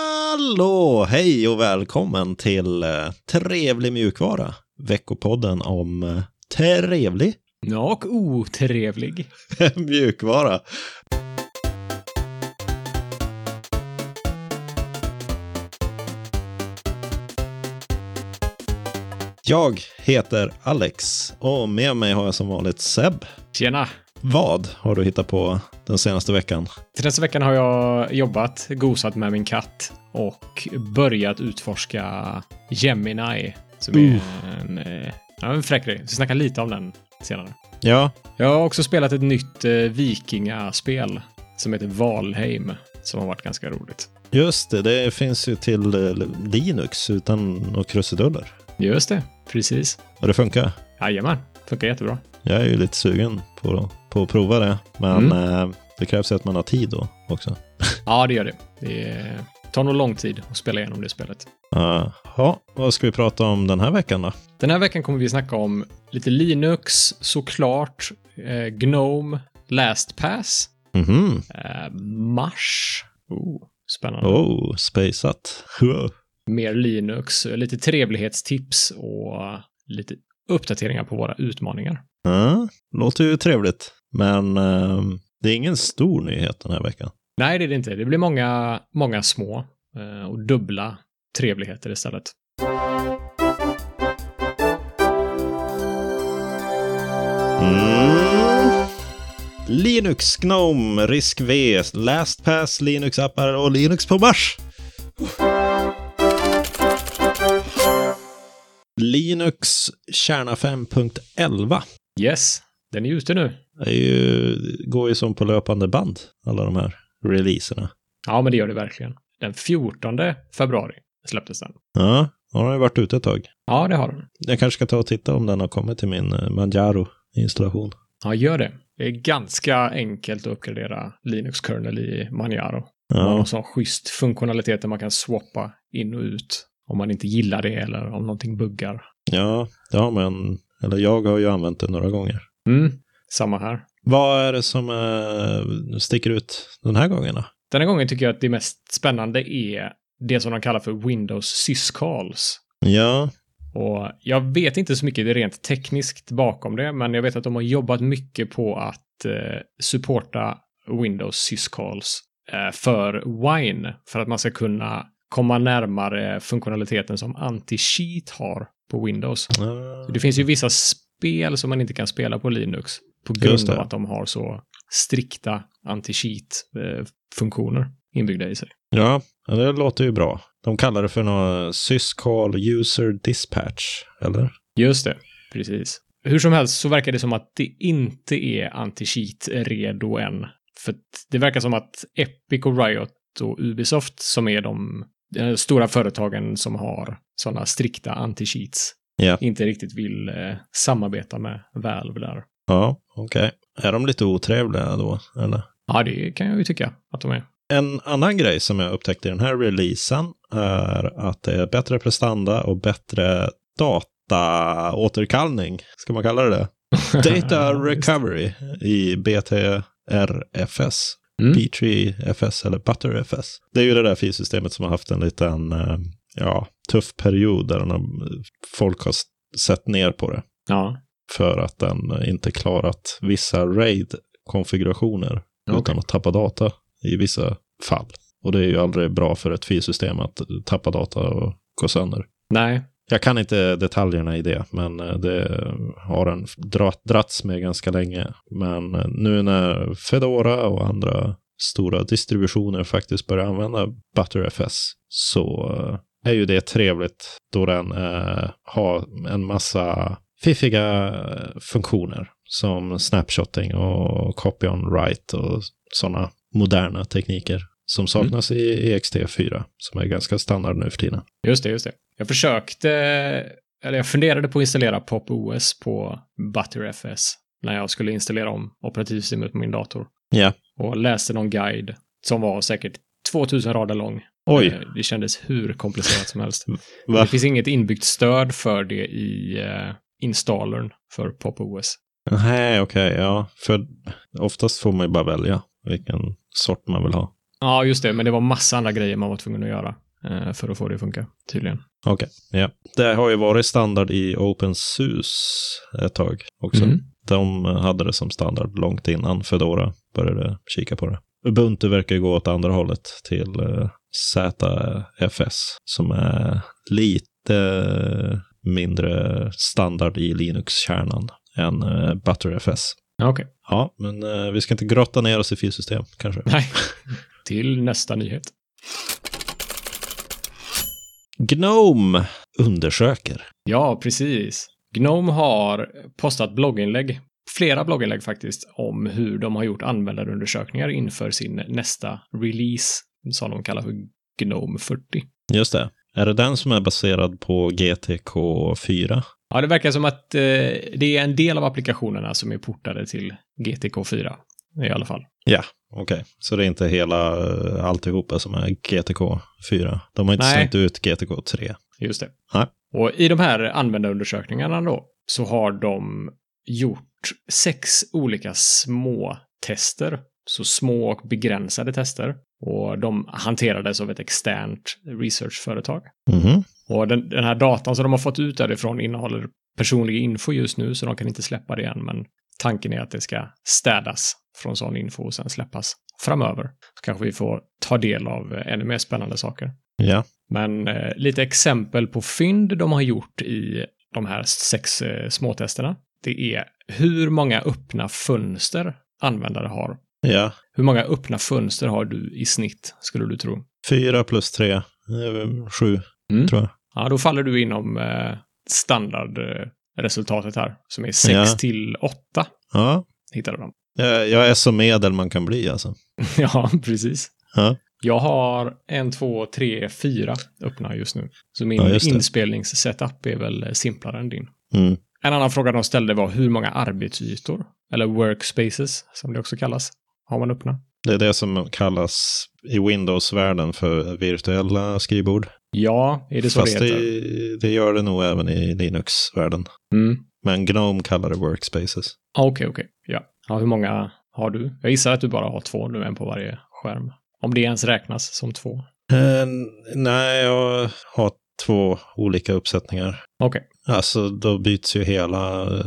Hallå! Hej och välkommen till eh, Trevlig mjukvara, veckopodden om eh, trevlig Ja, och otrevlig. mjukvara. Jag heter Alex och med mig har jag som vanligt Seb. Tjena! Vad har du hittat på den senaste veckan? Till nästa veckan har jag jobbat, gosat med min katt och börjat utforska Gemini. Som är en, eh, ja, en fräck grej. Vi ska snacka lite om den senare. Ja, Jag har också spelat ett nytt eh, vikingaspel som heter Valheim. Som har varit ganska roligt. just det. Det finns ju till eh, Linux utan några krusiduller. Just det, precis. Och det funkar. Jajamän, funkar jättebra. Jag är ju lite sugen på, på att prova det. Men eh, det krävs ju att man har tid då också. Ja, det gör det. Det eh, tar nog lång tid att spela igenom det spelet. Jaha, vad ska vi prata om den här veckan då? Den här veckan kommer vi snacka om lite Linux, såklart, eh, Gnome, LastPass, Mhm, eh, Mars. Oh, spännande. oh, spaceat. Wow. Mer Linux, eh, lite trevlighetstips och lite uppdateringar på våra utmaningar. Ja, låter ju trevligt. Men eh, det är ingen stor nyhet den här veckan. Nej, det är det inte. Det blir många, många små eh, och dubbla trevligheter istället. Mm. Linux, Gnome, Risk V, LastPass, Linux-appar och Linux på Mars. Linux kärna 5.11 Yes, den är ute nu. är ju, går ju som på löpande band, alla de här releaserna. Ja, men det gör det verkligen. Den 14 februari släpptes den. Ja, den har ju varit ute ett tag. Ja, det har den. Jag kanske ska ta och titta om den har kommit till min eh, Manjaro-installation. Ja, gör det. Det är ganska enkelt att uppgradera Linux kernel i Manjaro. Man har Ja, en sån schysst funktionalitet där man kan swappa in och ut om man inte gillar det eller om någonting buggar. ja, det har man. Eller jag har ju använt det några gånger. Mm, samma här. Vad är det som eh, sticker ut den här gången då? Den här gången tycker jag att det mest spännande är det som de kallar för Windows syscalls. Ja, Och jag vet inte så mycket rent tekniskt bakom det, men jag vet att de har jobbat mycket på att eh, supporta Windows syscalls eh, för Wine, för att man ska kunna komma närmare funktionaliteten som anti-cheat har på Windows. eh, Det finns ju vissa spel som man inte kan spela på Linux på Just grund det. av att de har så strikta anti-cheat-funktioner inbyggda i sig. ja det låter ju bra. De kallar det för något syscall user dispatch, eller? Just det, precis. Hur som helst så verkar det som att det inte är anti-cheat redo än. För att det verkar som att Epic och Riot och Ubisoft som är de eh, stora företagen som har sådana strikta anti-cheats Ja. inte riktigt vill eh, samarbeta med Valve där. Ja, okej. Är de lite otrevliga då, eller? Ja, det kan jag ju tycka att de är. En annan grej som jag upptäckte i den här releasen är att det är bättre prestanda och bättre dataåterkallning. Ska man kalla det det? Data recovery i BTRFS. Mm. B3FS eller ButterFS. Det är ju det där filsystemet som har haft en liten eh, ja, tuff period där den har, folk har s- sett ner på det Ja, för att den eh, inte klarat vissa RAID-konfigurationer utan Okej. att tappa data i vissa fall. Och det är ju aldrig bra för ett filsystem att tappa data och gå sönder. nej. Jag kan inte detaljerna i det, men eh, det har den dra- dratts med ganska länge. Men eh, nu när Fedora och andra stora distributioner faktiskt börjar använda ButterFS så eh, är ju det trevligt då den eh, har en massa fiffiga eh, funktioner som snapshotting och copy on write och sådana moderna tekniker som saknas i E EXT4 som är ganska standard nu för tiden. Just det, just det. Jag försökte, eller jag funderade på att installera PopOS på ButterFS när jag skulle installera om operativsystemet på min dator. Ja. Och läste någon guide som var säkert 2000 rader lång. Oj, Eh, Det kändes hur komplicerat som helst. va? Det finns inget inbyggt stöd för det i eh, installern för PopOS. Nej, okej, ja. För oftast får man ju bara välja vilken sort man vill ha. Ja, just det. Men det var massa andra grejer man var tvungen att göra eh, för att få det att funka, tydligen. Okej, ja. Det har ju varit standard i OpenSUSE ett tag också. Mm. De hade det som standard långt innan Fedora började kika på det. Ubuntu verkar ju gå åt andra hållet till eh, ZFS som är lite mindre standard i Linux-kärnan än eh, ButterFS. Ja, Okej. Ja, men eh, vi ska inte grotta ner oss i filsystem kanske. Nej. Till nästa nyhet. Gnome undersöker. Ja, precis. Gnome har postat blogginlägg, flera blogginlägg faktiskt, om hur de har gjort användarundersökningar inför sin nästa release, som de kallar för Gnome 40. Just det. Är det den som är baserad på GTK4? Ja, det verkar som att eh, det är en del av applikationerna som är portade till GTK4 i alla fall. Okej, så det är inte hela eh, alltihopa som är GTK4. De har inte Nej. slängt ut GTK3. Just det. Nej. Och i de här användarundersökningarna då så har de gjort sex olika små tester. Så små och begränsade tester. Och de hanterades av ett externt researchföretag. Mhm. Och den, den här datan som de har fått ut därifrån innehåller personlig info just nu så de kan inte släppa det än. Men tanken är att det ska städas från sån info och sen släppas framöver. Så kanske vi får ta del av eh, ännu mer spännande saker. Ja, Men eh, lite exempel på fynd de har gjort i de här sex eh, småtesterna. Det är hur många öppna fönster användare har. ja. Hur många öppna fönster har du i snitt, skulle du tro? 4 plus 3, eh, 7 Mm. tror jag. Ja, då faller du inom eh, standardresultatet här, som är 6 Ja. till 8, Ja, hittade de. jag, jag är så medel man kan bli alltså. ja, precis. Ja. Jag har en, två, tre, fyra öppna just nu. Så min Ja, just det. inspelningssetup är väl eh, simplare än din. Mm. En annan fråga de ställde var hur många arbetsytor, eller workspaces som det också kallas, har man öppna? Det är det som kallas i Windows-världen för virtuella skrivbord. Ja, är det så Fast det det, heter? det gör det nog även i Linux-världen. Mm. Men Gnome kallar det workspaces. Ah, Okej, okej. Ja. ja. Hur många har du? Jag gissar att du bara har två nu, en på varje skärm. Om det ens räknas som två. Eh, nej, jag har två olika uppsättningar. Okej. Alltså, då byts ju hela,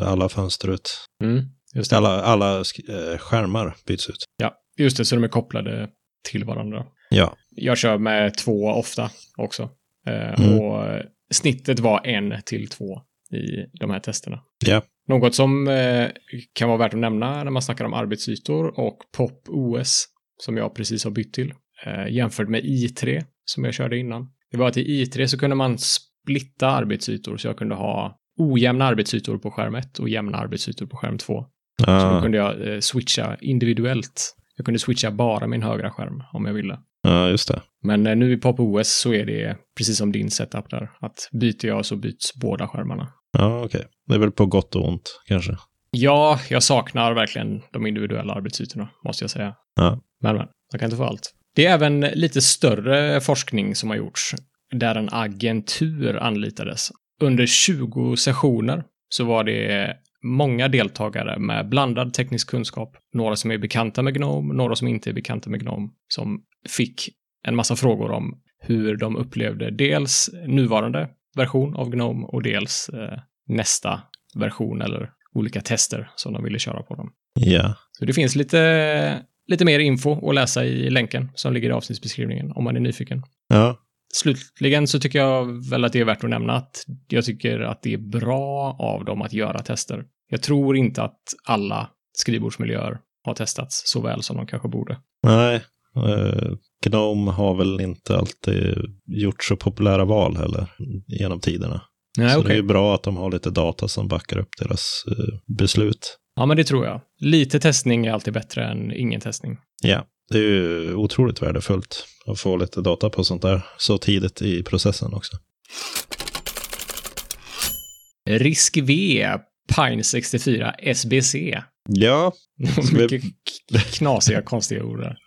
alla fönster ut. Mm. Just det. Alla, alla sk- eh, skärmar byts ut. Ja, just det, så de är kopplade till varandra. Ja. Jag kör med två ofta också. Eh, Mm. Och eh, snittet var en till två i de här testerna. Ja. Något som eh, kan vara värt att nämna när man snackar om arbetsytor och POP OS som jag precis har bytt till eh, jämfört med i3 som jag körde innan. Det var att i i3 så kunde man splitta arbetsytor så jag kunde ha ojämna arbetsytor på skärm 1 och jämna arbetsytor på skärm 2. Så då Ja, kunde jag eh, switcha individuellt. Jag kunde switcha bara min högra skärm om jag ville. ja, just det. Men eh, nu i Pop OS så är det precis som din setup där. Att byter jag så byts båda skärmarna. Ja, okej. Det är väl på gott och ont kanske. Ja, jag saknar verkligen de individuella arbetsytorna, måste jag säga. Ja. Men, men, jag kan inte få allt. Det är även lite större forskning som har gjorts, där en agentur anlitades. Under 20 sessioner så var det många deltagare med blandad teknisk kunskap, några som är bekanta med Gnome, några som inte är bekanta med Gnome, som fick en massa frågor om hur de upplevde dels nuvarande version av Gnome och dels eh, nästa version eller olika tester som de ville köra på dem. Ja, Så det finns lite, lite mer info att läsa i länken som ligger i avsnittsbeskrivningen om man är nyfiken. ja, Slutligen så tycker jag väl att det är värt att nämna att jag tycker att det är bra av dem att göra tester. Jag tror inte att alla skrivbordsmiljöer har testats så väl som de kanske borde. nej. Eh, Gnome har väl inte alltid gjort så populära val heller genom tiderna. Nej, så det är ju bra att de har lite data som backar upp deras eh, beslut. Ja, men det tror jag. Lite testning är alltid bättre än ingen testning. Ja, det är ju otroligt värdefullt att få lite data på sånt där så tidigt i processen också. Risk V, Pine 64 SBC. Ja, Ska vi- Mycket k- knasiga, konstiga ord där.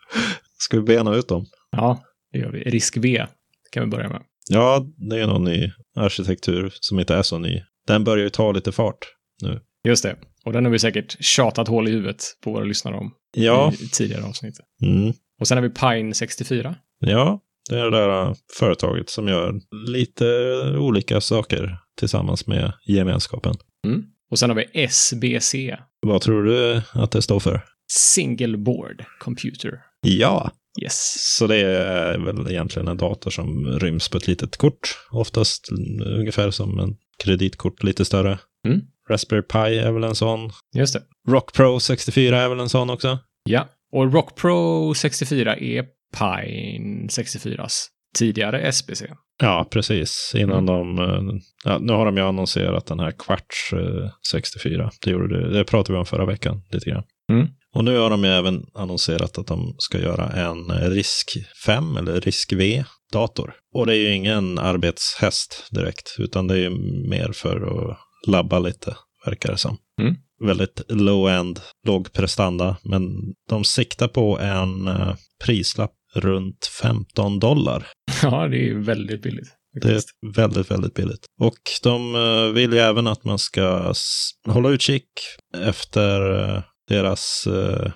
ska vi bena ut dem? Ja, det gör vi. Risk V kan vi börja med. Ja, det är någon ny arkitektur som inte är så ny. Den börjar ju ta lite fart. Just det. Och den har vi säkert tjatat hål i huvudet på våra lyssnare om Ja, i tidigare avsnitt. mm. Och sen har vi Pine 64. Ja, det är det där äh, företaget som gör lite olika saker tillsammans med gemenskapen. Och sen har vi SBC. Vad tror du att det står för? Single Board Computer. Ja, Yes. så det är väl egentligen en dator som ryms på ett litet kort. Oftast ungefär som en kreditkort, lite större. Mm. Raspberry Pi är väl en sån. Just det. Rock Pro 64 är väl en sån också. Ja. Och Rock Pro 64 är Pine 64s tidigare SBC. Ja, precis. Innan Mm. de... eh, Ja, nu har de ju annonserat den här Quartz eh, 64. Det, gjorde du, det pratade vi om förra veckan lite grann. Mm. Och nu har de ju även annonserat att de ska göra en eh, Risk 5 eller Risk V-dator. Och det är ju ingen arbetshäst direkt, utan det är ju mer för att labba lite, verkar det som. Mm. Väldigt low-end, låg prestanda, men de siktar på en eh, prislapp runt 15 dollar. Ja, det är ju väldigt billigt. Det faktiskt. är väldigt, väldigt billigt. Och de eh, vill ju även att man ska s- hålla utkik efter eh, deras eh,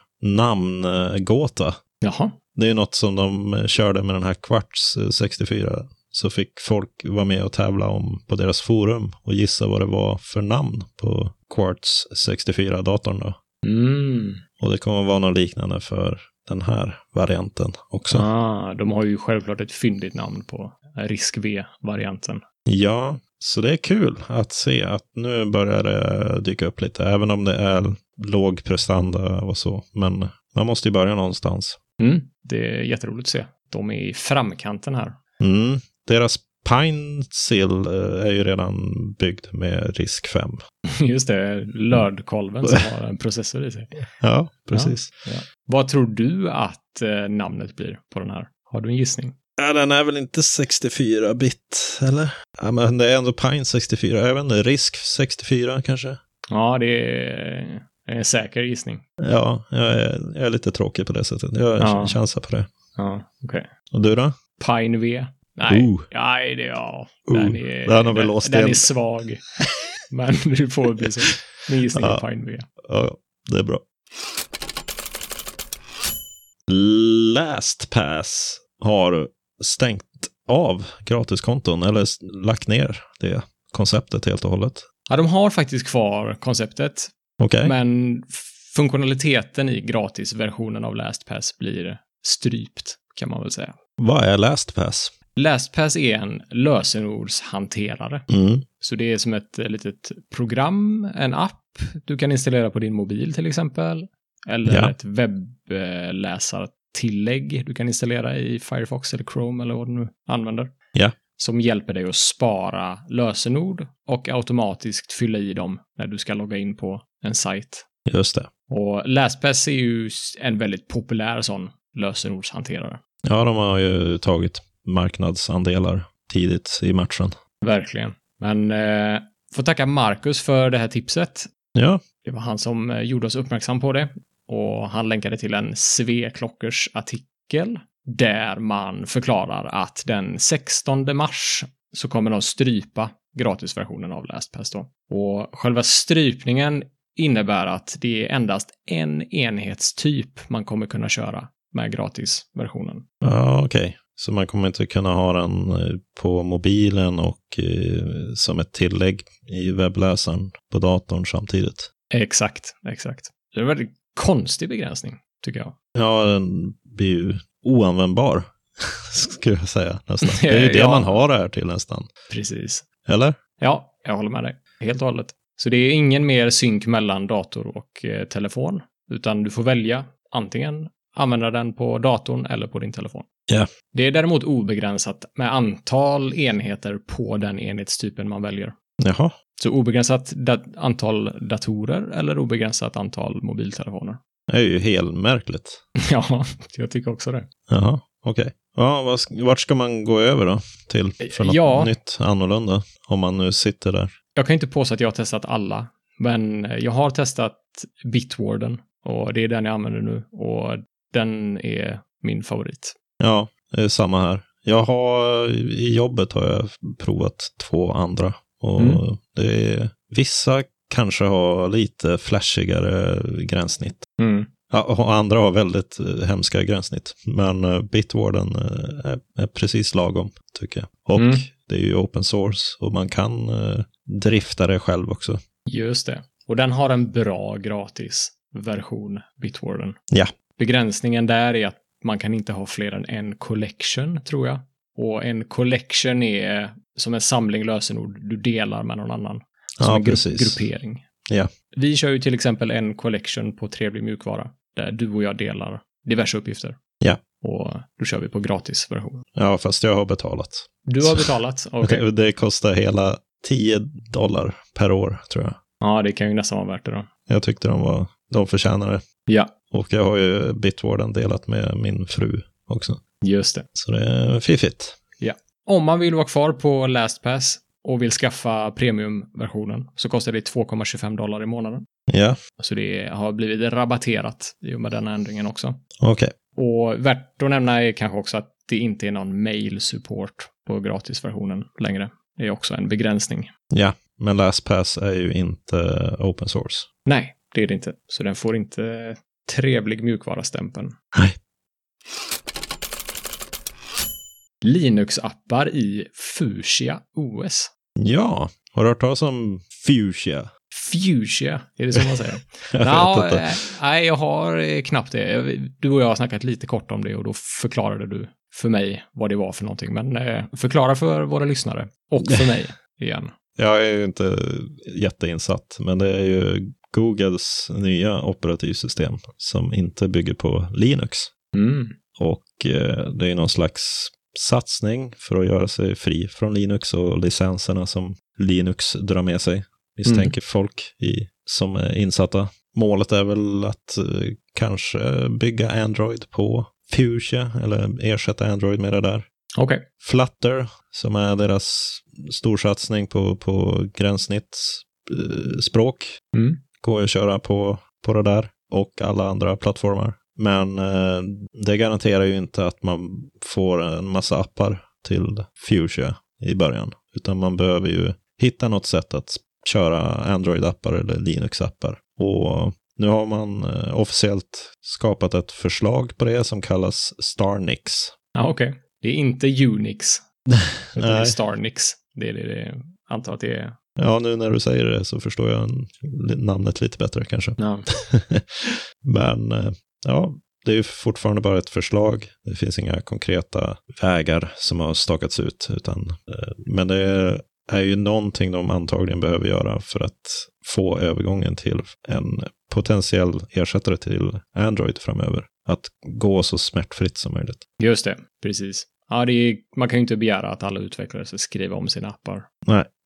namngåta. Jaha. Det är ju något som de eh, körde med den här Quartz eh, 64. Så fick folk vara med och tävla om på deras forum och gissa vad det var för namn på Quartz 64-datorn då. Mm. Och det kommer att vara något liknande för den här varianten också. Ah, de har ju självklart ett fyndigt namn på Risk V-varianten. Ja, så det är kul att se att nu börjar det dyka upp lite, även om det är låg prestanda och så. Men man måste ju börja någonstans. Mm. Det är jätteroligt att se. De är i framkanten här. Mm. Deras Pine Seal eh, är ju redan byggd med risk 5. Just det, lördkolven som har en processor i sig. Ja, precis. Vad tror du att eh, namnet blir på den här? Har du en gissning? Ja. den är väl inte 64-bit, eller? Ja, men det är ändå Pine 64. Jag vet inte, risk 64 kanske? Ja, det är en säker gissning. Ja, jag är, jag är lite tråkig på det sättet. Jag Ja. chansar på det. Ja, okej. Och du då? Pine V? Nej, Ooh. nej det, ja. Ooh. Den, är, Den har vi låst den igen. är svag. Men du får bli så. Min gissning Ja. är Pine V. Ja, det är bra. LastPass har stängt av gratiskonton, eller s- lagt ner det konceptet helt och hållet. Ja, de har faktiskt kvar konceptet, Okej, men funktionaliteten i gratisversionen av LastPass blir strypt, kan man väl säga. vad är LastPass? LastPass är en lösenordshanterare. Mm. Så det är som ett eh, litet program, en app du kan installera på din mobil till exempel. Eller Ja. ett webbläsartillägg du kan installera i Firefox eller Chrome eller vad du nu använder. Ja. Som hjälper dig att spara lösenord och automatiskt fylla i dem när du ska logga in på en sajt. Just det. Och LastPass är ju s- en väldigt populär sån lösenordshanterare. Ja, de har ju tagit marknadsandelar tidigt i matchen. Verkligen. Men eh, får tacka Marcus för det här tipset. Ja, Det var han som eh, gjorde oss uppmärksam på det och han länkade till en Sveklockers artikel där man förklarar att den 16 mars så kommer de strypa gratisversionen av LastPass då. Och själva strypningen innebär att det är endast en enhetstyp man kommer kunna köra med gratisversionen. ja okej. Så man kommer inte kunna ha den eh, på mobilen och eh, som ett tillägg i webbläsaren på datorn samtidigt. Exakt, exakt. Det är en väldigt konstig begränsning, tycker jag. Ja, den blir ju oanvändbar, skulle jag säga nästan. Det är ju det Ja. man har det här till nästan. Precis. Eller? Ja, jag håller med dig. Helt och hållet. Så det är ingen mer synk mellan dator och eh, telefon, utan du får välja antingen använda den på datorn eller på din telefon. Ja. Det är däremot obegränsat med antal enheter på den enhetstypen man väljer. Jaha. Så obegränsat da- antal datorer eller obegränsat antal mobiltelefoner. Det är ju helt märkligt. Ja, jag tycker också det. Jaha, okej. Ja, vad sk- vart ska man gå över då? Till för något Ja. nytt, annorlunda? Om man nu sitter där. Jag kan inte påstå att jag har testat alla, men jag har testat Bitwarden och det är den jag använder nu och den är min favorit. Ja, det är samma här. Jag har, i jobbet har jag provat två andra. Och Mm. det är, vissa kanske har lite flashigare gränssnitt. Ja, och andra har väldigt eh, hemska gränssnitt. Men eh, Bitwarden eh, är, är precis lagom, tycker jag. Och Mm. det är ju open source och man kan eh, drifta det själv också. Just det. Och den har en bra gratisversion, Bitwarden. Ja. Begränsningen där är att man kan inte ha fler än en collection, tror jag. Och en collection är som en samling lösenord du delar med någon annan. Som Ja, en gru- precis. gruppering. Ja. Vi kör ju till exempel en collection på Trevlig mjukvara, där du och jag delar diverse uppgifter. Ja. Och då kör vi på gratisversion. Ja, fast jag har betalat. Du har betalat, okej. Det, det kostar hela 10 dollar per år, tror jag. Ja, det kan ju nästan vara värt det då. Jag tyckte de var, de förtjänar det. Ja, Och jag har ju Bitwarden delat med min fru också. just det. Så det är fiffigt. Om man vill vara kvar på LastPass och vill skaffa premiumversionen så kostar det 2,25 dollar i månaden. Ja, Så det har blivit rabatterat i och med den här ändringen också. okej. Och värt att nämna är kanske också att det inte är någon mail-support på gratisversionen längre. Det är också en begränsning. Men LastPass är ju inte open source. Nej, det är det inte. Så den får inte trevlig mjukvara-stämpeln. Nej. Linux-appar i Fuchsia OS. Ja, har du hört talas om Fuchsia? Fuchsia, är det så man säger? Jag Ja, vet inte. eh, nej, jag har eh, knappt det. Jag- Du och jag har snackat lite kort om det och då förklarade du för mig vad det var för någonting. Men eh, förklara för våra lyssnare och för mig igen. Jag är ju inte jätteinsatt, men det är ju Googles nya operativsystem som inte bygger på Linux. Mm. Och eh, det är någon slags satsning för att göra sig fri från Linux och licenserna som Linux drar med sig, Mm. misstänker folk i, som är insatta. Målet är väl att eh, kanske bygga Android på Fuchsia eller ersätta Android med det där. Okej, Flutter, som är deras storsatsning på, på gränssnittsspråk, Mm. går ju att köra på, på det där och alla andra plattformar. Men eh, det garanterar ju inte att man får en massa appar till Fuchsia i början, utan man behöver ju hitta något sätt att köra Android-appar eller Linux-appar. Och nu har man eh, officiellt skapat ett förslag på det som kallas Starnix. ja, okej. Det är inte Unix, utan det är Nej. Starnix. Det är det, det jag antar att det är. Ja, nu när du säger det så förstår jag en- namnet lite bättre kanske. Ja. Men eh, ja, det är ju fortfarande bara ett förslag. Det finns inga konkreta vägar som har stakats ut. Utan, eh, men det är ju någonting de antagligen behöver göra för att få övergången till en potentiell ersättare till Android framöver. Att gå så smärtfritt som möjligt. Just det, precis. Ja, det är, man kan ju inte begära att alla utvecklare ska skriva om sina appar.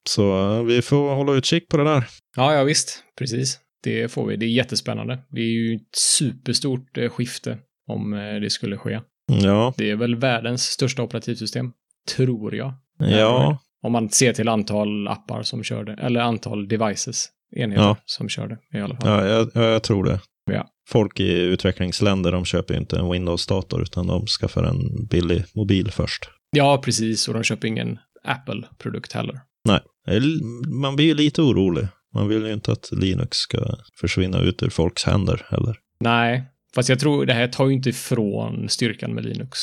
Så eh, vi får hålla utkik på det där. Ja, ja visst. Precis. Det får vi. Det är jättespännande. Det är ju ett superstort eh, skifte om eh, det skulle ske. Ja, Det är väl världens största operativsystem, tror jag. ja, Om man ser till antal appar som kör det, eller antal devices, enheter Ja. som kör det i alla fall. Ja, jag, jag tror det. Ja. Folk i utvecklingsländer de köper ju inte en Windows-dator utan de skaffar en billig mobil först. Ja, precis. Och de köper ingen Apple-produkt heller. Eller, Man blir ju lite orolig. Man vill ju inte att Linux ska försvinna ut ur folks händer heller. Nej, fast jag tror det här tar ju inte ifrån styrkan med Linux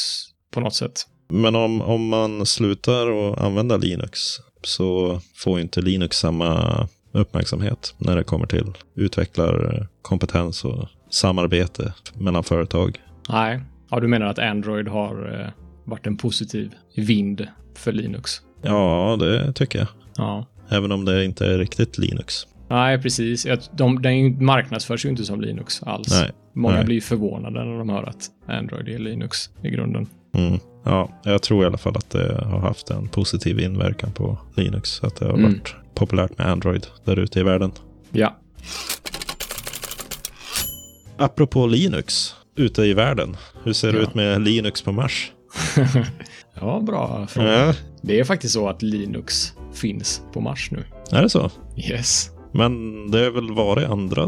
på något sätt. Men om, om man slutar att använda Linux så får ju inte Linux samma uppmärksamhet när det kommer till utvecklarkompetens och samarbete mellan företag. Nej, ja, du menar att Android har eh, varit en positiv vind för Linux? Ja, det tycker jag. Ja. Även om det inte är riktigt Linux. Nej, precis. Jag- De, den marknadsförs ju inte som Linux alls. Nej. Många nej. blir ju förvånade när de hör att Android är Linux i grunden. Mm. Ja, jag tror i alla fall att det har haft en positiv inverkan på Linux. Att det har Mm. varit populärt med Android där ute i världen. Ja. Apropå Linux, ute i världen. Hur ser det Ja. ut med Linux på Mars? ja, bra fråga. Ja. Det är faktiskt så att Linux finns på Mars nu. Är det så? Yes. Men det har väl varit andra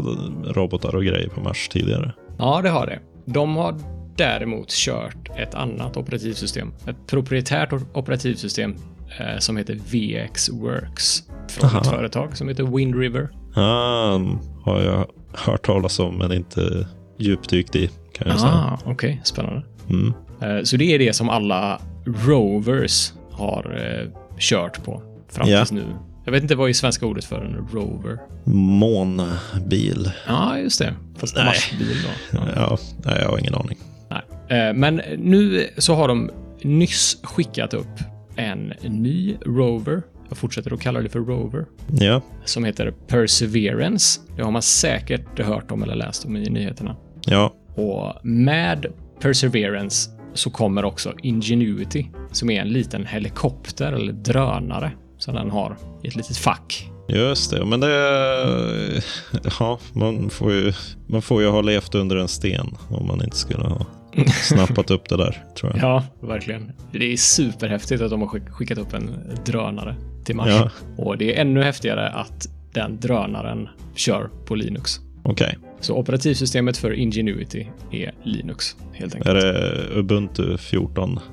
robotar och grejer på Mars tidigare? Ja, det har det. De har däremot kört ett annat operativsystem. Ett proprietärt o- operativsystem eh, som heter VXWorks. Från Aha. ett företag som heter Windriver. Ah, har jag hört talas om, men inte djupdykt i, kan jag säga. Ah, Okej, spännande. Mm. Eh, Så det är det som alla rovers har eh, kört på fram Ja. tills nu. Jag vet inte vad är svenska ordet för en rover. Månbil. Ja, just det. Fast Nej. marsbil då. Ja. Ja, nej, jag har ingen aning. Nej. Eh, Men nu så har de nyss skickat upp en ny rover. Jag fortsätter att kalla det för rover. Ja, Som heter Perseverance. Det har man säkert hört om eller läst om i nyheterna. ja, Och med Perseverance så kommer också Ingenuity, som är en liten helikopter eller drönare som den har i ett litet fack. just det. Men det... Ja, man får ju, man får ju ha levt under en sten om man inte skulle ha snappat upp det där, tror jag. Ja, verkligen. Det är superhäftigt att de har skick- skickat upp en drönare till Mars. Ja. Och det är ännu häftigare att den drönaren kör på Linux. Okej. Så operativsystemet för Ingenuity är Linux, helt enkelt. Är det Ubuntu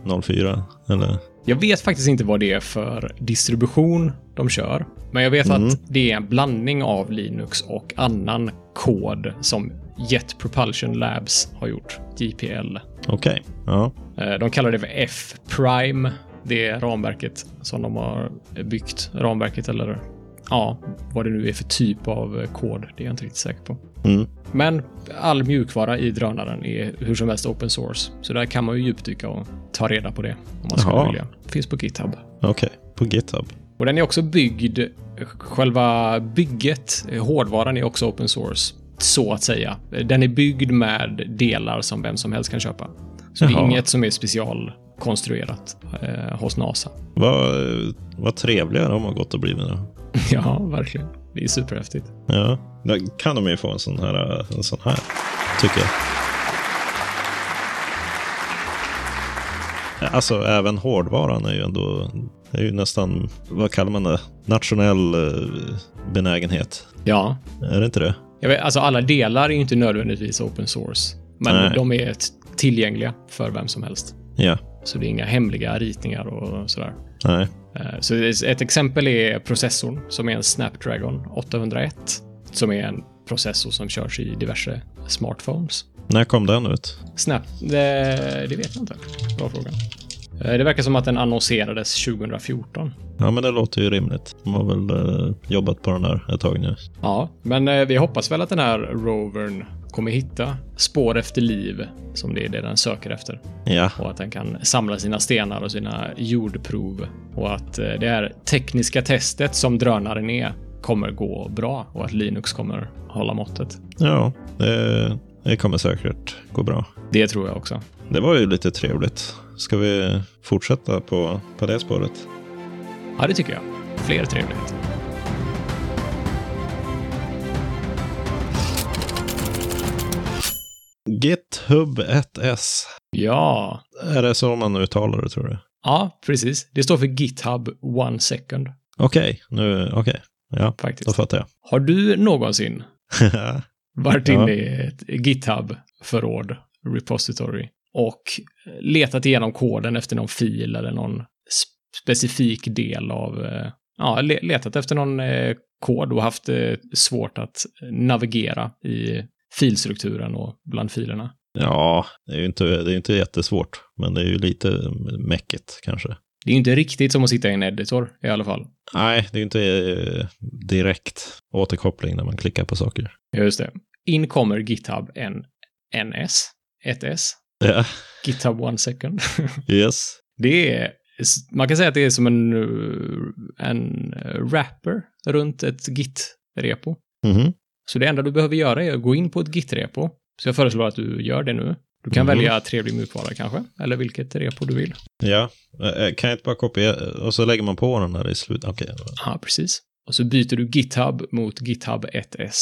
14.04? Eller? Jag vet faktiskt inte vad det är för distribution de kör, men jag vet Mm. att det är en blandning av Linux och annan kod som Jet Propulsion Labs har gjort, JPL. Okej. Ja. Eh, De kallar det för F-Prime, det är ramverket som de har byggt. Ramverket eller ja, vad det nu är för typ av eh, kod, det är jag inte riktigt säker på. Mm. Men all mjukvara i drönaren är hur som helst open source, så där kan man ju djupdyka och ta reda på det om man skulle Jaha. vilja. Finns på GitHub. Okej. På GitHub. Och den är också byggd, själva bygget, eh, hårdvaran är också open source, så att säga. Den är byggd med delar som vem som helst kan köpa. Så det är Jaha. inget som är specialkonstruerat eh, hos NASA. Vad, vad trevliga de har gått och blivit då. ja, verkligen. Det är superhäftigt. Ja. Där kan de ju få en sån här, en sån här tycker jag. Alltså även hårdvaran är ju ändå, det är ju nästan, vad kallar man det, nationell eh, benägenhet. Ja. Är det inte det? Jag vet, alltså alla delar är ju inte nödvändigtvis open source, men Nej. de är t- tillgängliga för vem som helst. Ja, Så det är inga hemliga ritningar och sådär. nej, Eh, Så ett exempel är processorn som är en Snapdragon 801 som är en processor som körs i diverse smartphones. när kom den ut? Snap, det, det vet jag inte. Bra fråga. Eh, Det verkar som att den annonserades 2014. Ja, men det låter ju rimligt. De har väl eh, jobbat på den här ett tag nu. Ja, men eh, vi hoppas väl att den här rovern kommer hitta spår efter liv som det är det den söker efter Ja, och att den kan samla sina stenar och sina jordprov och att eh, det här tekniska testet som drönaren är kommer gå bra och att Linux kommer hålla måttet. ja det, det kommer säkert gå bra. Det tror jag också. Det var ju lite trevligt. Ska vi fortsätta på, på det spåret? Ja, det tycker jag. Fler trevligheter. GitHub 1S. Ja, Är det så man uttalar det tror du? ja, precis. Det står för GitHub One Second Okej, nu, okej. Ja, då faktiskt. fattar jag. Har du någonsin varit Ja. inne i ett GitHub förråd, repository, och letat igenom koden efter någon fil eller någon sp- specifik del av, eh, ja, le- letat efter någon eh, kod och haft eh, svårt att navigera i filstrukturen och bland filerna? ja, det är ju inte, det är inte jättesvårt, men det är ju lite mäckigt kanske. Det är ju inte riktigt som att sitta i en editor i alla fall. Nej, det är ju inte eh, direkt återkoppling när man klickar på saker. Ja, Just det. In kommer GitHub en NS, ett S, Ja, GitHub One Second. yes. Det är, man kan säga att det är som en, eh, en wrapper runt ett Git-repo. Mhm. Så det enda du behöver göra är att gå in på ett Git-repo. Så jag föreslår att du gör det nu. Du kan Mhm. välja trevlig mjukvara kanske, eller vilket repo du vill. Ja, Eh, eh, kan jag inte bara kopiera och så lägger man på den här i slutet? Okej, Ja, precis. Och så byter du GitHub mot GitHub 1S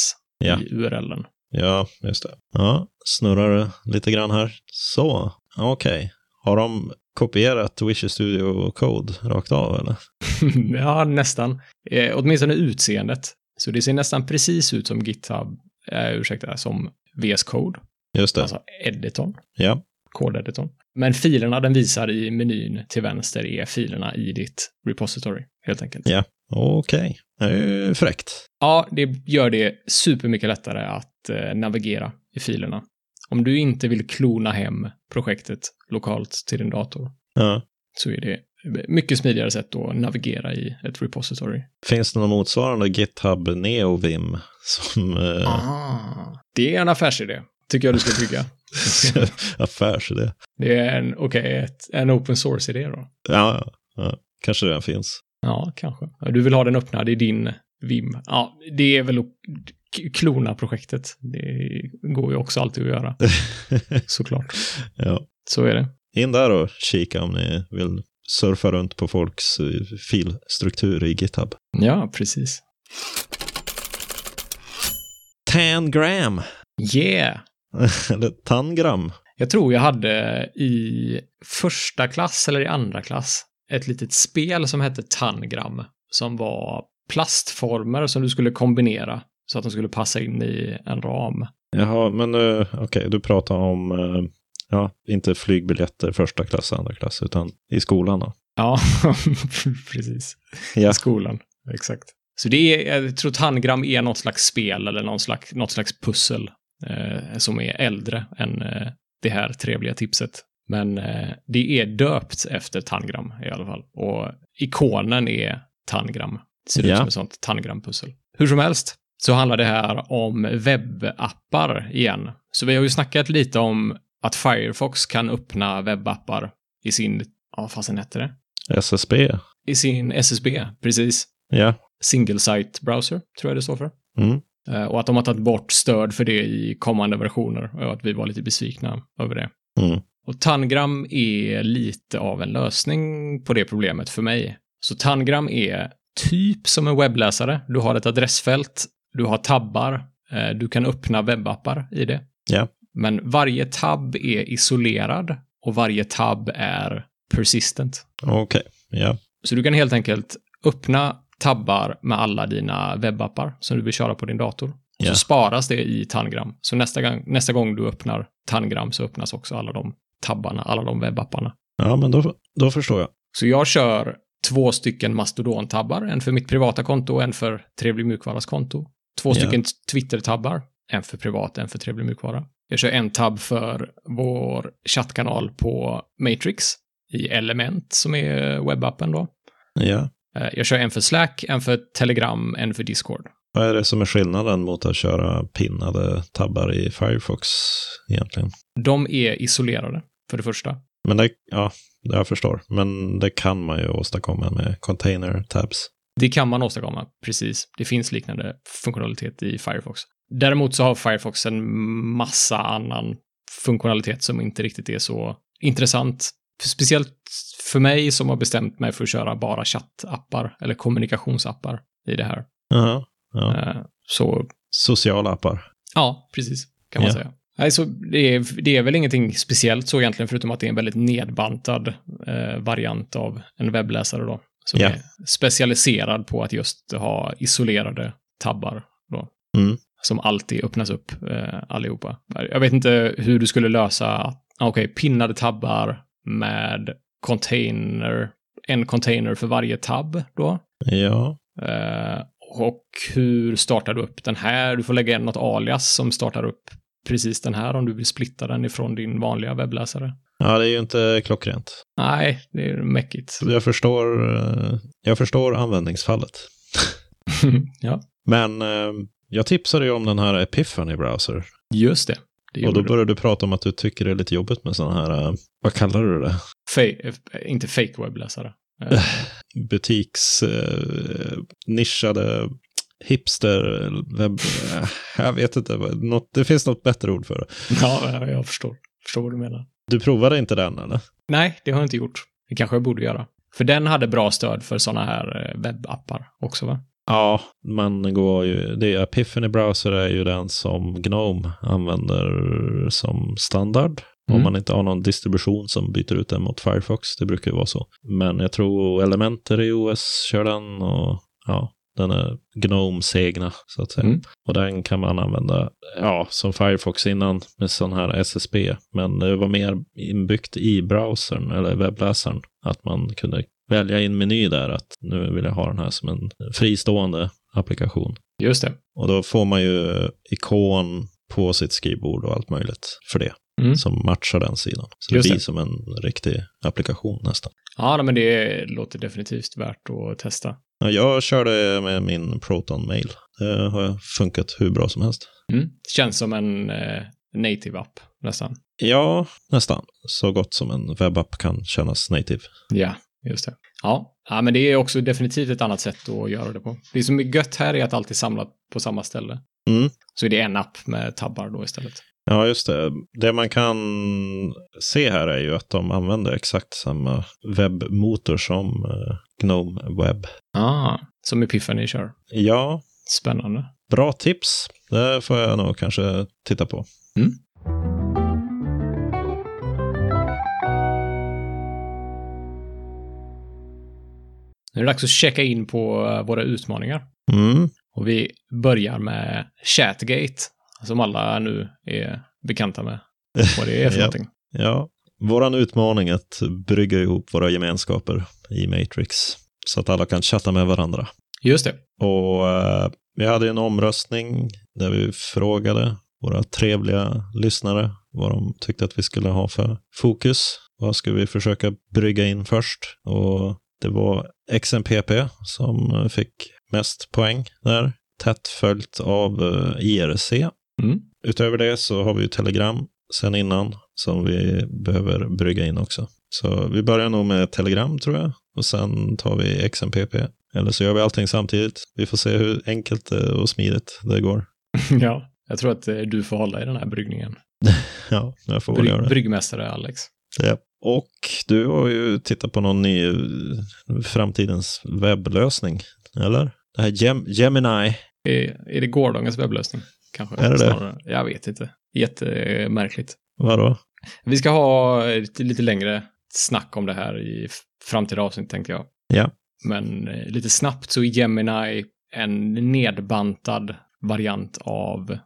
Ja. i URLen. Ja, just det. Ja, snurrar det lite grann här. Så, okej. Har de kopierat Visual Studio Code rakt av eller? ja, nästan. Eh, åtminstone utseendet. Så det ser nästan precis ut som GitHub, eh, ursäkta, som VS Code, Just det. alltså editorn, Ja, kodeditorn. Men filerna den visar i menyn till vänster är filerna i ditt repository, helt enkelt. Ja. okej. Det är ju fräckt. Ja, det gör det supermycket lättare att eh, navigera i filerna. Om du inte vill klona hem projektet lokalt till din dator Ja. så är det mycket smidigare sätt att navigera i ett repository. Finns det någon motsvarande GitHub Neo Vim som eh, Ah. Det är en affärsidé, tycker jag du ska bygga. affärsidé? Det är en, okej, ett- en open source-idé då. Ja, ja, ja, kanske den finns. Ja, kanske. Du vill ha den öppnad i din VIM. Ja, det är väl att k- klona projektet. Det går ju också alltid att göra, såklart. ja. Så är det. In där och kika om ni vill surfa runt på folks eh, filstruktur i GitHub. Ja, precis. Tangram, Yeah! eller Tangram. Jag tror jag hade i första klass eller i andra klass ett litet spel som hette Tangram som var plastformer som du skulle kombinera så att de skulle passa in i en ram. Jaha, men eh, okej, du pratar om, eh, ja, inte flygbiljetter första klass, andra klass, utan i skolan då. Ja, precis. Ja. I skolan. Exakt. Så det är, jag tror Tangram är något slags spel eller någon slags, något slags pussel eh, som är äldre än eh, det här trevliga tipset. Men eh, det är döpt efter Tangram i alla fall. Och ikonen är Tangram. Ser ut Ja. som ett sånt Tangram-pussel. Hur som helst så handlar det här om webbappar igen. Så vi har ju snackat lite om att Firefox kan öppna webbappar i sin, ja, vad fasen hette det? SSB, i sin SSB, precis. ja. Single site browser, tror jag det står för. Mm. Eh, Och att de har tagit bort stöd för det i kommande versioner och att vi var lite besvikna över det. Mm. Och Tangram är lite av en lösning på det problemet för mig. Så Tangram är typ som en webbläsare. Du har ett adressfält, du har tabbar, eh, du kan öppna webbappar i det. Ja. Men varje tabb är isolerad och varje tabb är persistent. Okej, ja. Så du kan helt enkelt öppna tabbar med alla dina webbappar som du vill köra på din dator. Och Ja. Så sparas det i Tangram. Så nästa gång, nästa gång du öppnar Tangram så öppnas också alla de tabbarna, alla de webbapparna. Ja, men då, då förstår jag. Så jag kör två stycken Mastodon-tabbar, en för mitt privata konto och en för Trevlig Mjukvaras konto. Två Ja. stycken Twitter-tabbar, en för privat, en för Trevlig Mjukvara. Jag kör en tabb för vår chattkanal på Matrix i Element som är webbappen då. Ja. Eh, Jag kör en för Slack, en för Telegram, en för Discord. Vad är det som är skillnaden mot att köra pinnade tabbar i Firefox egentligen? De är isolerade, för det första. Men det, ja, jag förstår. Men det kan man ju åstadkomma med container tabs. Det kan man åstadkomma, precis. Det finns liknande funktionalitet i Firefox. Däremot så har Firefox en massa annan funktionalitet som inte riktigt är så intressant. Speciellt för mig som har bestämt mig för att köra bara chattappar eller kommunikationsappar i det här. Ja, ja. Eh, Så Sociala appar. Ja, precis. Kan man Ja. säga. Nej, så det, är, det är väl ingenting speciellt så egentligen, förutom att det är en väldigt nedbantad eh, variant av en webbläsare då. Som Ja. är specialiserad på att just ha isolerade tabbar då. Mm. Som alltid öppnas upp eh, allihopa. Jag vet inte hur du skulle lösa, att- ah, okej, pinnade tabbar med container, en container för varje tabb då. Ja, Eh, och hur startar du upp den här? Du får lägga in något alias som startar upp precis den här om du vill splitta den ifrån din vanliga webbläsare. ja det är ju inte klockrent. Nej, det är mäckigt. Jag förstår, eh, jag förstår användningsfallet. ja, Men eh, jag tipsade ju om den här Epiphany browser. just det. det Och då gjorde du. började du prata om att du tycker det är lite jobbigt med sådana här, eh, vad kallar du det? Fe- eh, inte fake webbläsare. butiks eh, nischade hipster webb. eh, Jag vet inte, vad- något, det finns något bättre ord för det. ja, ja, jag förstår. Förstår vad du menar. Du provade inte den eller? Nej, det har jag inte gjort. Det kanske jag borde göra. För den hade bra stöd för sådana här eh, webbappar också, va? Ja, man går ju, det är Epiphany Browser är ju den som Gnome använder som standard. Om Mm. man inte har någon distribution som byter ut den mot Firefox, det brukar ju vara så. Men jag tror Elementer i OS kör den och ja, den är Gnomes egna så att säga. Mm. Och den kan man använda, ja, som Firefox innan med sån här SSB. Men det var mer inbyggt i browsern eller webbläsaren. Att man kunde välja i en meny där att nu vill jag ha den här som en fristående applikation. Just det. Och då får man ju ikon på sitt skrivbord och allt möjligt för det. Mm. Som matchar den sidan. Så Just det blir det. som en riktig applikation nästan. Ja, nej, men det låter definitivt värt att testa. Ja, Jag körde med min Proton Mail. Det har funkat hur bra som helst. Mm. Känns som en eh, native app nästan. Ja, nästan. Så gott som en webbapp kan kännas native. Ja, just det. Ja. ja, men det är också definitivt ett annat sätt att göra det på. Det som är gött här är att allt är samlat på samma ställe. Mm. Så är det en app med tabbar då istället. Ja, just det. Det man kan se här är ju att de använder exakt samma webbmotor som eh, Gnome Web. Ah. Som Epiphany kör. Ja, Spännande. bra tips. Det får jag nog kanske titta på. Mm. Nu är det dags att checka in på eh, våra utmaningar. Mm. Och vi börjar med Chatgate, som alla nu är bekanta med. Vad det är för Ja. någonting. Ja, våran utmaning att brygga ihop våra gemenskaper i Matrix så att alla kan chatta med varandra. Just det. Och eh, vi hade ju en omröstning där vi frågade våra trevliga lyssnare vad de tyckte att vi skulle ha för fokus. Vad skulle vi försöka brygga in först? Och det var XMPP som eh, fick mest poäng där, tätt följt av eh, IRC. Mm. Utöver det så har vi ju Telegram sen innan som vi behöver brygga in också. Så vi börjar nog med Telegram tror jag och sen tar vi XMPP. Eller så gör vi allting samtidigt. Vi får se hur enkelt eh, och smidigt det går. ja. Jag tror att eh, du får hålla i den här bryggningen. Ja, jag får väl göra Bry- det. bryggmästare Alex. Ja. Och du har ju tittat på någon ny eh, framtidens webblösning, eller? Det här Gem- Gemini. Är, är det gårdagens webblösning? Kanske. Är det det? Snarare. Jag vet inte. Jättemärkligt. Vadå? Vi ska ha ett lite längre snack om det här i f- framtida avsnitt, tänkte jag. Ja. Men eh, lite snabbt så är Gemini en nedbantad variant av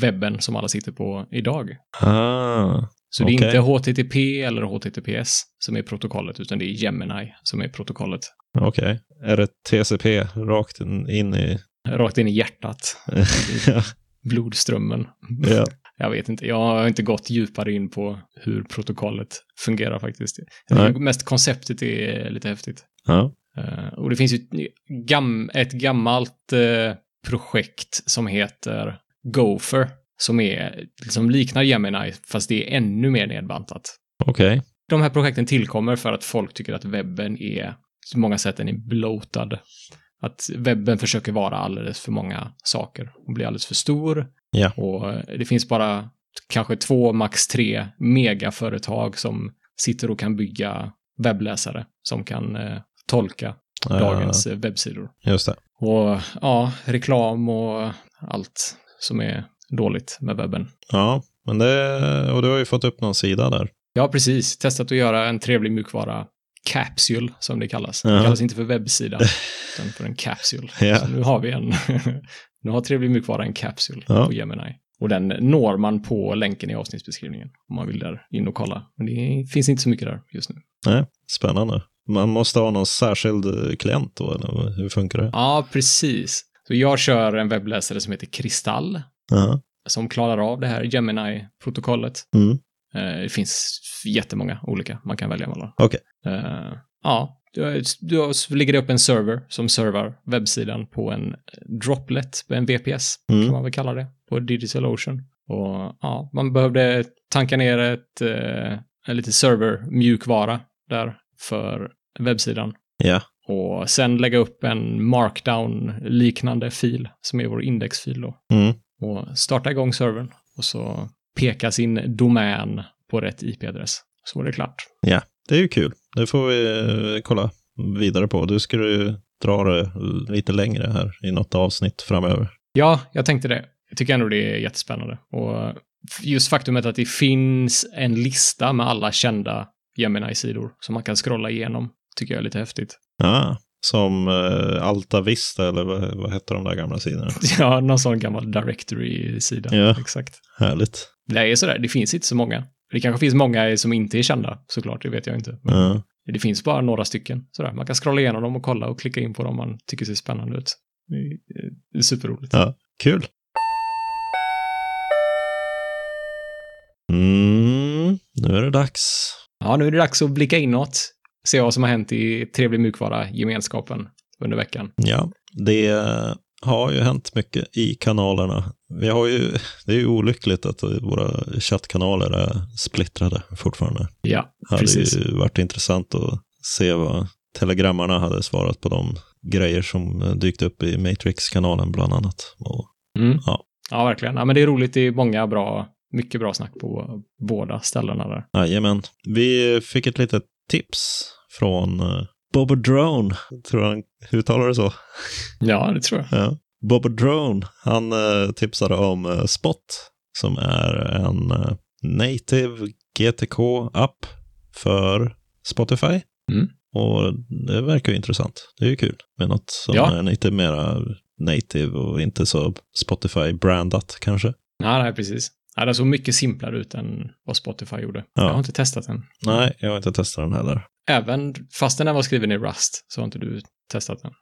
webben som alla sitter på idag. Ah, Så det Okej. är inte HTTP eller HTTPS som är protokollet, utan det är Gemini som är protokollet. okej. Är det TCP rakt in in i... Rakt in i hjärtat, ja, blodströmmen. ja. Jag vet inte, jag har inte gått djupare in på hur protokollet fungerar faktiskt. Nej. Mest konceptet är lite häftigt. ja. Eh, Och det finns ju ett, gam, ett gammalt eh, projekt som heter Gopher, som är, som liknar Gemini, fast det är ännu mer nedbantat. Okej. De här projekten tillkommer för att folk tycker att webben är, på många sätt den är bloatad. Att webben försöker vara alldeles för många saker och blir alldeles för stor. Ja. Och eh, det finns bara kanske två, max tre megaföretag som sitter och kan bygga webbläsare som kan eh, tolka Ja, dagens eh, webbsidor. Just det. Och ja, reklam och allt som är dåligt med webben. Ja, men det, och du har ju fått upp någon sida där. Ja, precis. Testat att göra en trevlig mjukvara. Capsule, som det kallas. Det Ja. kallas inte för webbsida, utan för en capsule. Ja. Så nu har vi en. nu har trevlig mjukvara en capsule Ja. på Gemini. Och den når man på länken i avsnittsbeskrivningen om man vill där in och kolla. Men det finns inte så mycket där just nu. Nej, spännande. Man måste ha någon särskild eh, klient då, eller hur funkar det? Ja, precis. Så jag kör en webbläsare som heter Kristall, Ja. som klarar av det här Gemini-protokollet. Mm. Eh, Det finns jättemånga olika man kan välja mellan. Okej. Eh, ja, du, du har- så ligger det upp en server som servar webbsidan på en droplet, en VPS Mm. kan man väl kalla det, på DigitalOcean. Och ja, man behövde tanka ner ett, eh, en lite server-mjukvara där för webbsidan. Ja. Och sen lägga upp en markdown-liknande fil som är vår indexfil då Mm. och starta igång servern och så peka sin domän på rätt IP-adress. Så var det klart. Det är ju kul. Det får vi eh, kolla vidare på. Du skulle ju dra det eh, lite längre här i något avsnitt framöver. Ja, jag tänkte det. Jag tycker ändå det är jättespännande. Och just faktumet att det finns en lista med alla kända Gemini-sidor som man kan scrolla igenom tycker jag är lite häftigt. Ja, som eh, Alta Vista, eller vad, vad hette de där gamla sidorna? Ja, någon sån gammal directory-sida. Ja. Exakt. Härligt. Det är sådär, det finns inte så många. Det kanske finns många som inte är kända, såklart, det vet jag inte. Men Ja. Det finns bara några stycken. Sådär. Man kan scrolla igenom dem och kolla och klicka in på dem man tycker ser eh, spännande ut. Det är- det är superroligt. Ja. Kul. Mm, nu är det dags. Ja, nu är det dags att blicka inåt. Se vad som har hänt i trevlig mjukvara-gemenskapen under veckan. Ja, det har ju hänt mycket i kanalerna. Vi har ju, det är ju olyckligt att våra chattkanaler är splittrade fortfarande. Ja, Det hade precis. ju varit intressant att se vad telegrammarna hade svarat på de grejer som dykt upp i Matrix-kanalen bland annat. Och Mm. Ja. ja, verkligen. Ja, men det är roligt. Det är många bra, mycket bra snack på båda ställena där. Jajamän. Vi fick ett litet tips från eh, Boba Drone, tror jag han uttalar det så. Ja, det tror jag. Ja. Boba Drone, han eh, tipsade om eh, Spot som är en eh, native GTK-app för Spotify. Mm. Och det verkar ju intressant. Det är ju kul med något som Ja. är lite mera native och inte så Spotify-brandat kanske. Ja, nej, precis. Ja, den såg mycket simplare ut än vad Spotify gjorde. Ja. Jag har inte testat den. Nej, jag har inte testat den heller. Även fast den här var skriven i Rust så har inte du testat den.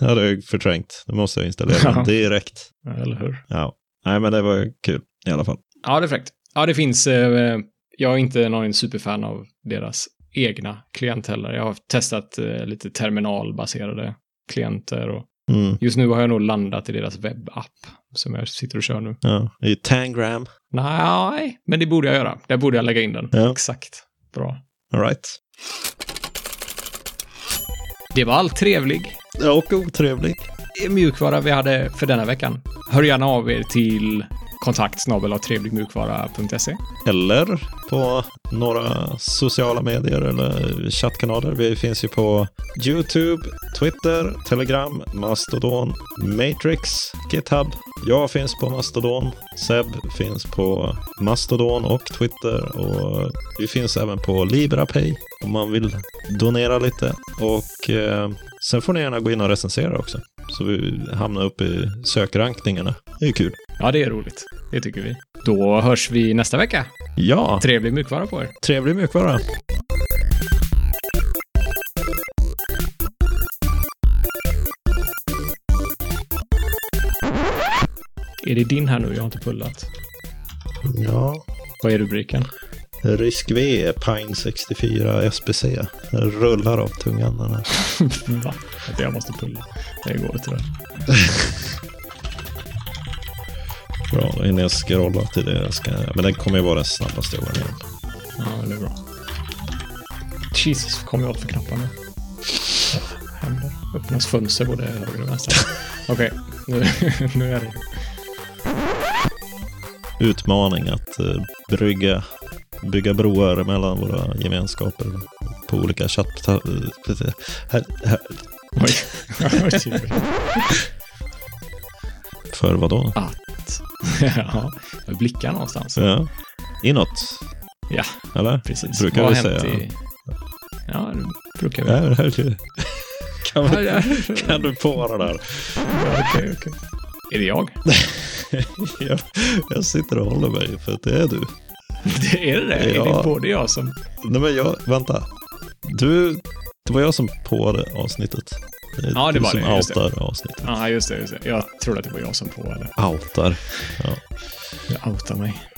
Ja, det är ju förträngt. Nu måste jag installera den Ja. direkt. Eller hur? Ja. Nej, men det var ju kul i alla fall. Ja, det är fräckt. Ja, det finns. Eh, jag är inte någon superfan av deras egna klient heller. Jag har testat eh, lite terminalbaserade klienter och Mm. just nu har jag nog landat i deras webbapp som jag sitter och kör nu. Ja. I Tangram. Nej, men det borde jag göra. Där borde jag lägga in den. Ja. Exakt. Bra. All right. Det var allt trevlig eh, Och otrevlig. mjukvara vi hade för denna veckan. Hör gärna av er till kontakt trevligmjukvara.se. eller på några sociala medier eller chattkanaler. Vi finns ju på YouTube, Twitter, Telegram, Mastodon, Matrix, GitHub. Jag finns på Mastodon. Seb finns på Mastodon och Twitter. Och vi finns även på LibraPay om man vill donera lite. Och eh, sen får ni gärna gå in och recensera också. Så vi hamnar upp i sökrankningarna. Det är ju kul. Ja, det är roligt. Det tycker vi. Då hörs vi nästa vecka. Ja, Trevlig mjukvara på er. trevlig mjukvara. Är det din här nu? Jag har inte pullat. Ja. Vad är rubriken? Risk V, Pine 64 SPC. Den rullar av tungan den här. Va? Att jag måste pulla. Det går inte. det. Bra, då hinner jag scrolla till det jag ska... Men den kommer ju vara den snabbaste jag varit med om. Ja, men det är bra. Jesus, kom jag åt för knapparna. Vad händer? Öppnas fönster både höger och vänster. Okej, nu, nu är det. Utmaning att eh, brygga, bygga broar mellan våra gemenskaper på olika chatt... Här, här, Oj. Oj. för vad då? Att... Ja, jag blickar någonstans. Ja. Inåt, Ja, eller? precis. Brukar Vad vi har hänt säga. i- Ja, det brukar vi. Ja, det här är- Kan, Ja, vi, ja. kan du på det där? Okej, okej. Är det jag? Jag, jag sitter och håller mig för att det är du. Det är det. Ja. Är det både jag som... Nej men jag, vänta. Du, det var jag som påade avsnittet. är Ja, det du var som det, just det. outar avsnittet. Ja, just det, just det. Jag trodde att det var jag som på eller Outar. Jag outar mig.